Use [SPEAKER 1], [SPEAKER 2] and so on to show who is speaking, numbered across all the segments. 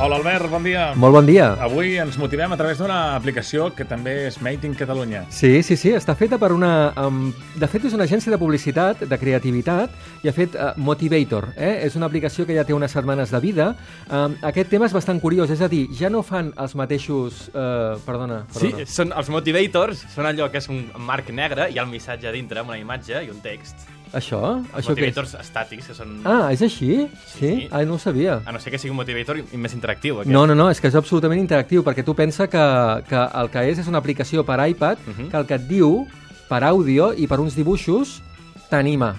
[SPEAKER 1] Hola, Albert, bon dia.
[SPEAKER 2] Molt bon dia.
[SPEAKER 1] Avui ens motivem a través d'una aplicació que també és Made in Catalunya.
[SPEAKER 2] Sí, sí, sí, està feta per una... Um, de fet, és una agència de publicitat, de creativitat, i ha fet uh, Motivator. Eh? És una aplicació que ja té unes setmanes de vida. Um, aquest tema és bastant curiós, és a dir, ja no fan els mateixos... Uh, perdona,
[SPEAKER 3] Sí,
[SPEAKER 2] perdona.
[SPEAKER 3] són els motivators, són allò que és un marc negre, hi ha el missatge a dintre amb una imatge i un text.
[SPEAKER 2] Això?
[SPEAKER 3] Els
[SPEAKER 2] Això què és?
[SPEAKER 3] motivators estàtics, que són...
[SPEAKER 2] Ah, és així?
[SPEAKER 3] Sí.
[SPEAKER 2] Ah, no ho sabia.
[SPEAKER 3] A no ser que sigui un motivator i- i més interactiu, aquest.
[SPEAKER 2] No, no, no, és que és absolutament interactiu, perquè tu pensa que, que el que és és una aplicació per iPad
[SPEAKER 3] Mhm.
[SPEAKER 2] que el que et diu, per àudio i per uns dibuixos, t'anima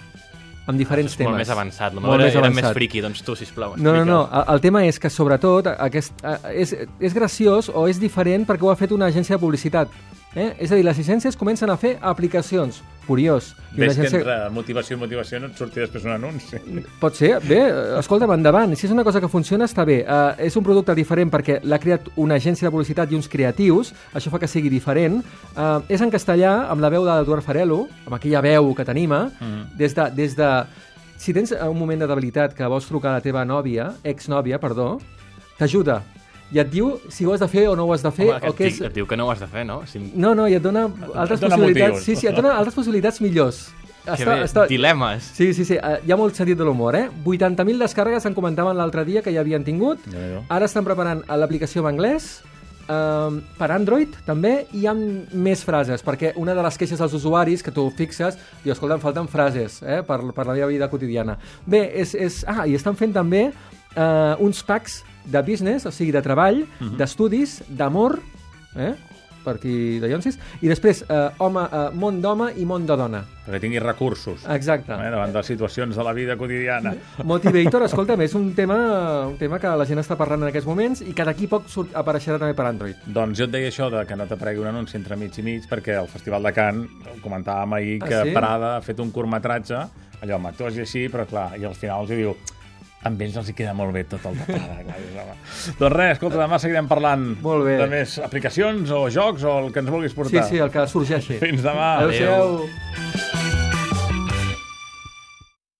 [SPEAKER 2] amb diferents
[SPEAKER 3] és
[SPEAKER 2] temes.
[SPEAKER 3] molt més avançat. La
[SPEAKER 2] Molt
[SPEAKER 3] meva era,
[SPEAKER 2] més
[SPEAKER 3] era
[SPEAKER 2] avançat.
[SPEAKER 3] més friki, doncs tu, sisplau,
[SPEAKER 2] No, no,
[SPEAKER 3] explica'm.
[SPEAKER 2] no. El, el tema és que, sobretot, aquest, eh, és, és graciós o és diferent perquè ho ha fet una agència de publicitat. Eh? És a dir, les agències comencen a fer aplicacions. Curiós. I una
[SPEAKER 1] Ves que entre motivació i motivació no et surti després un anunci.
[SPEAKER 2] Pot ser, bé, eh, escolta'm, endavant. Si és una cosa que funciona, està bé. Uh, és un producte diferent perquè l'ha creat una agència de publicitat i uns creatius, això fa que sigui diferent. Uh, és en castellà, amb la veu d'Eduard Farelo, amb aquella veu que t'anima, mm. des, de, des de... Si tens eh, un moment de debilitat que vols trucar a la teva nòvia, exnòvia, perdó, t'ajuda i et diu si ho has de fer o no ho has de fer
[SPEAKER 3] Home, que
[SPEAKER 2] Eh, o què
[SPEAKER 3] et,
[SPEAKER 2] és...
[SPEAKER 3] di- et diu que no ho has de fer, no? Si...
[SPEAKER 2] No, no, i et dona altres
[SPEAKER 1] dona
[SPEAKER 2] possibilitats.
[SPEAKER 1] motius.
[SPEAKER 2] Sí, sí, et dona altres possibilitats millors.
[SPEAKER 3] que bé, dilemes.
[SPEAKER 2] Sí, sí, sí, eh, hi ha molt sentit de l'humor, eh? 80.000 descàrregues en comentaven l'altre dia que ja havien tingut.
[SPEAKER 1] Déu-n'hi-do.
[SPEAKER 2] Ara estan preparant eh, l'aplicació en anglès, Um, per Android també hi ha més frases perquè una de les queixes dels usuaris que tu fixes diu, escolta, em falten frases eh, per, per la meva vida quotidiana bé, és, és... Ah, i estan fent també eh, uns packs de business o sigui, de treball, uh -huh. d'estudis d'amor eh, per aquí de Llonsis i després eh, home, eh, món d'home i món de dona
[SPEAKER 1] Perquè tingui recursos.
[SPEAKER 2] exacte
[SPEAKER 1] Eh, davant de les situacions de la vida quotidiana.
[SPEAKER 2] Motivator, escolta'm, és un tema, un tema que la gent està parlant en aquests moments i que d'aquí a poc surt, apareixerà també per Android.
[SPEAKER 1] Doncs jo et deia això de que no t'apregui un anunci entre mig i mig, perquè al Festival de Can comentàvem ahir
[SPEAKER 2] Ah,
[SPEAKER 1] que
[SPEAKER 2] sí?
[SPEAKER 1] Prada ha fet un curtmetratge, allò amb actors i així, però clar, i al final els hi diu amb ells els hi queda molt bé tot el de Prada. clar, dius, home. doncs res, escolta, demà seguirem parlant
[SPEAKER 2] Molt bé.
[SPEAKER 1] de més aplicacions o jocs o el que ens vulguis
[SPEAKER 2] Sí,
[SPEAKER 1] portar.
[SPEAKER 2] sí, el que sorgeixi.
[SPEAKER 1] Fins demà.
[SPEAKER 2] Adéu-siau.
[SPEAKER 3] Adéu.
[SPEAKER 2] Adéu.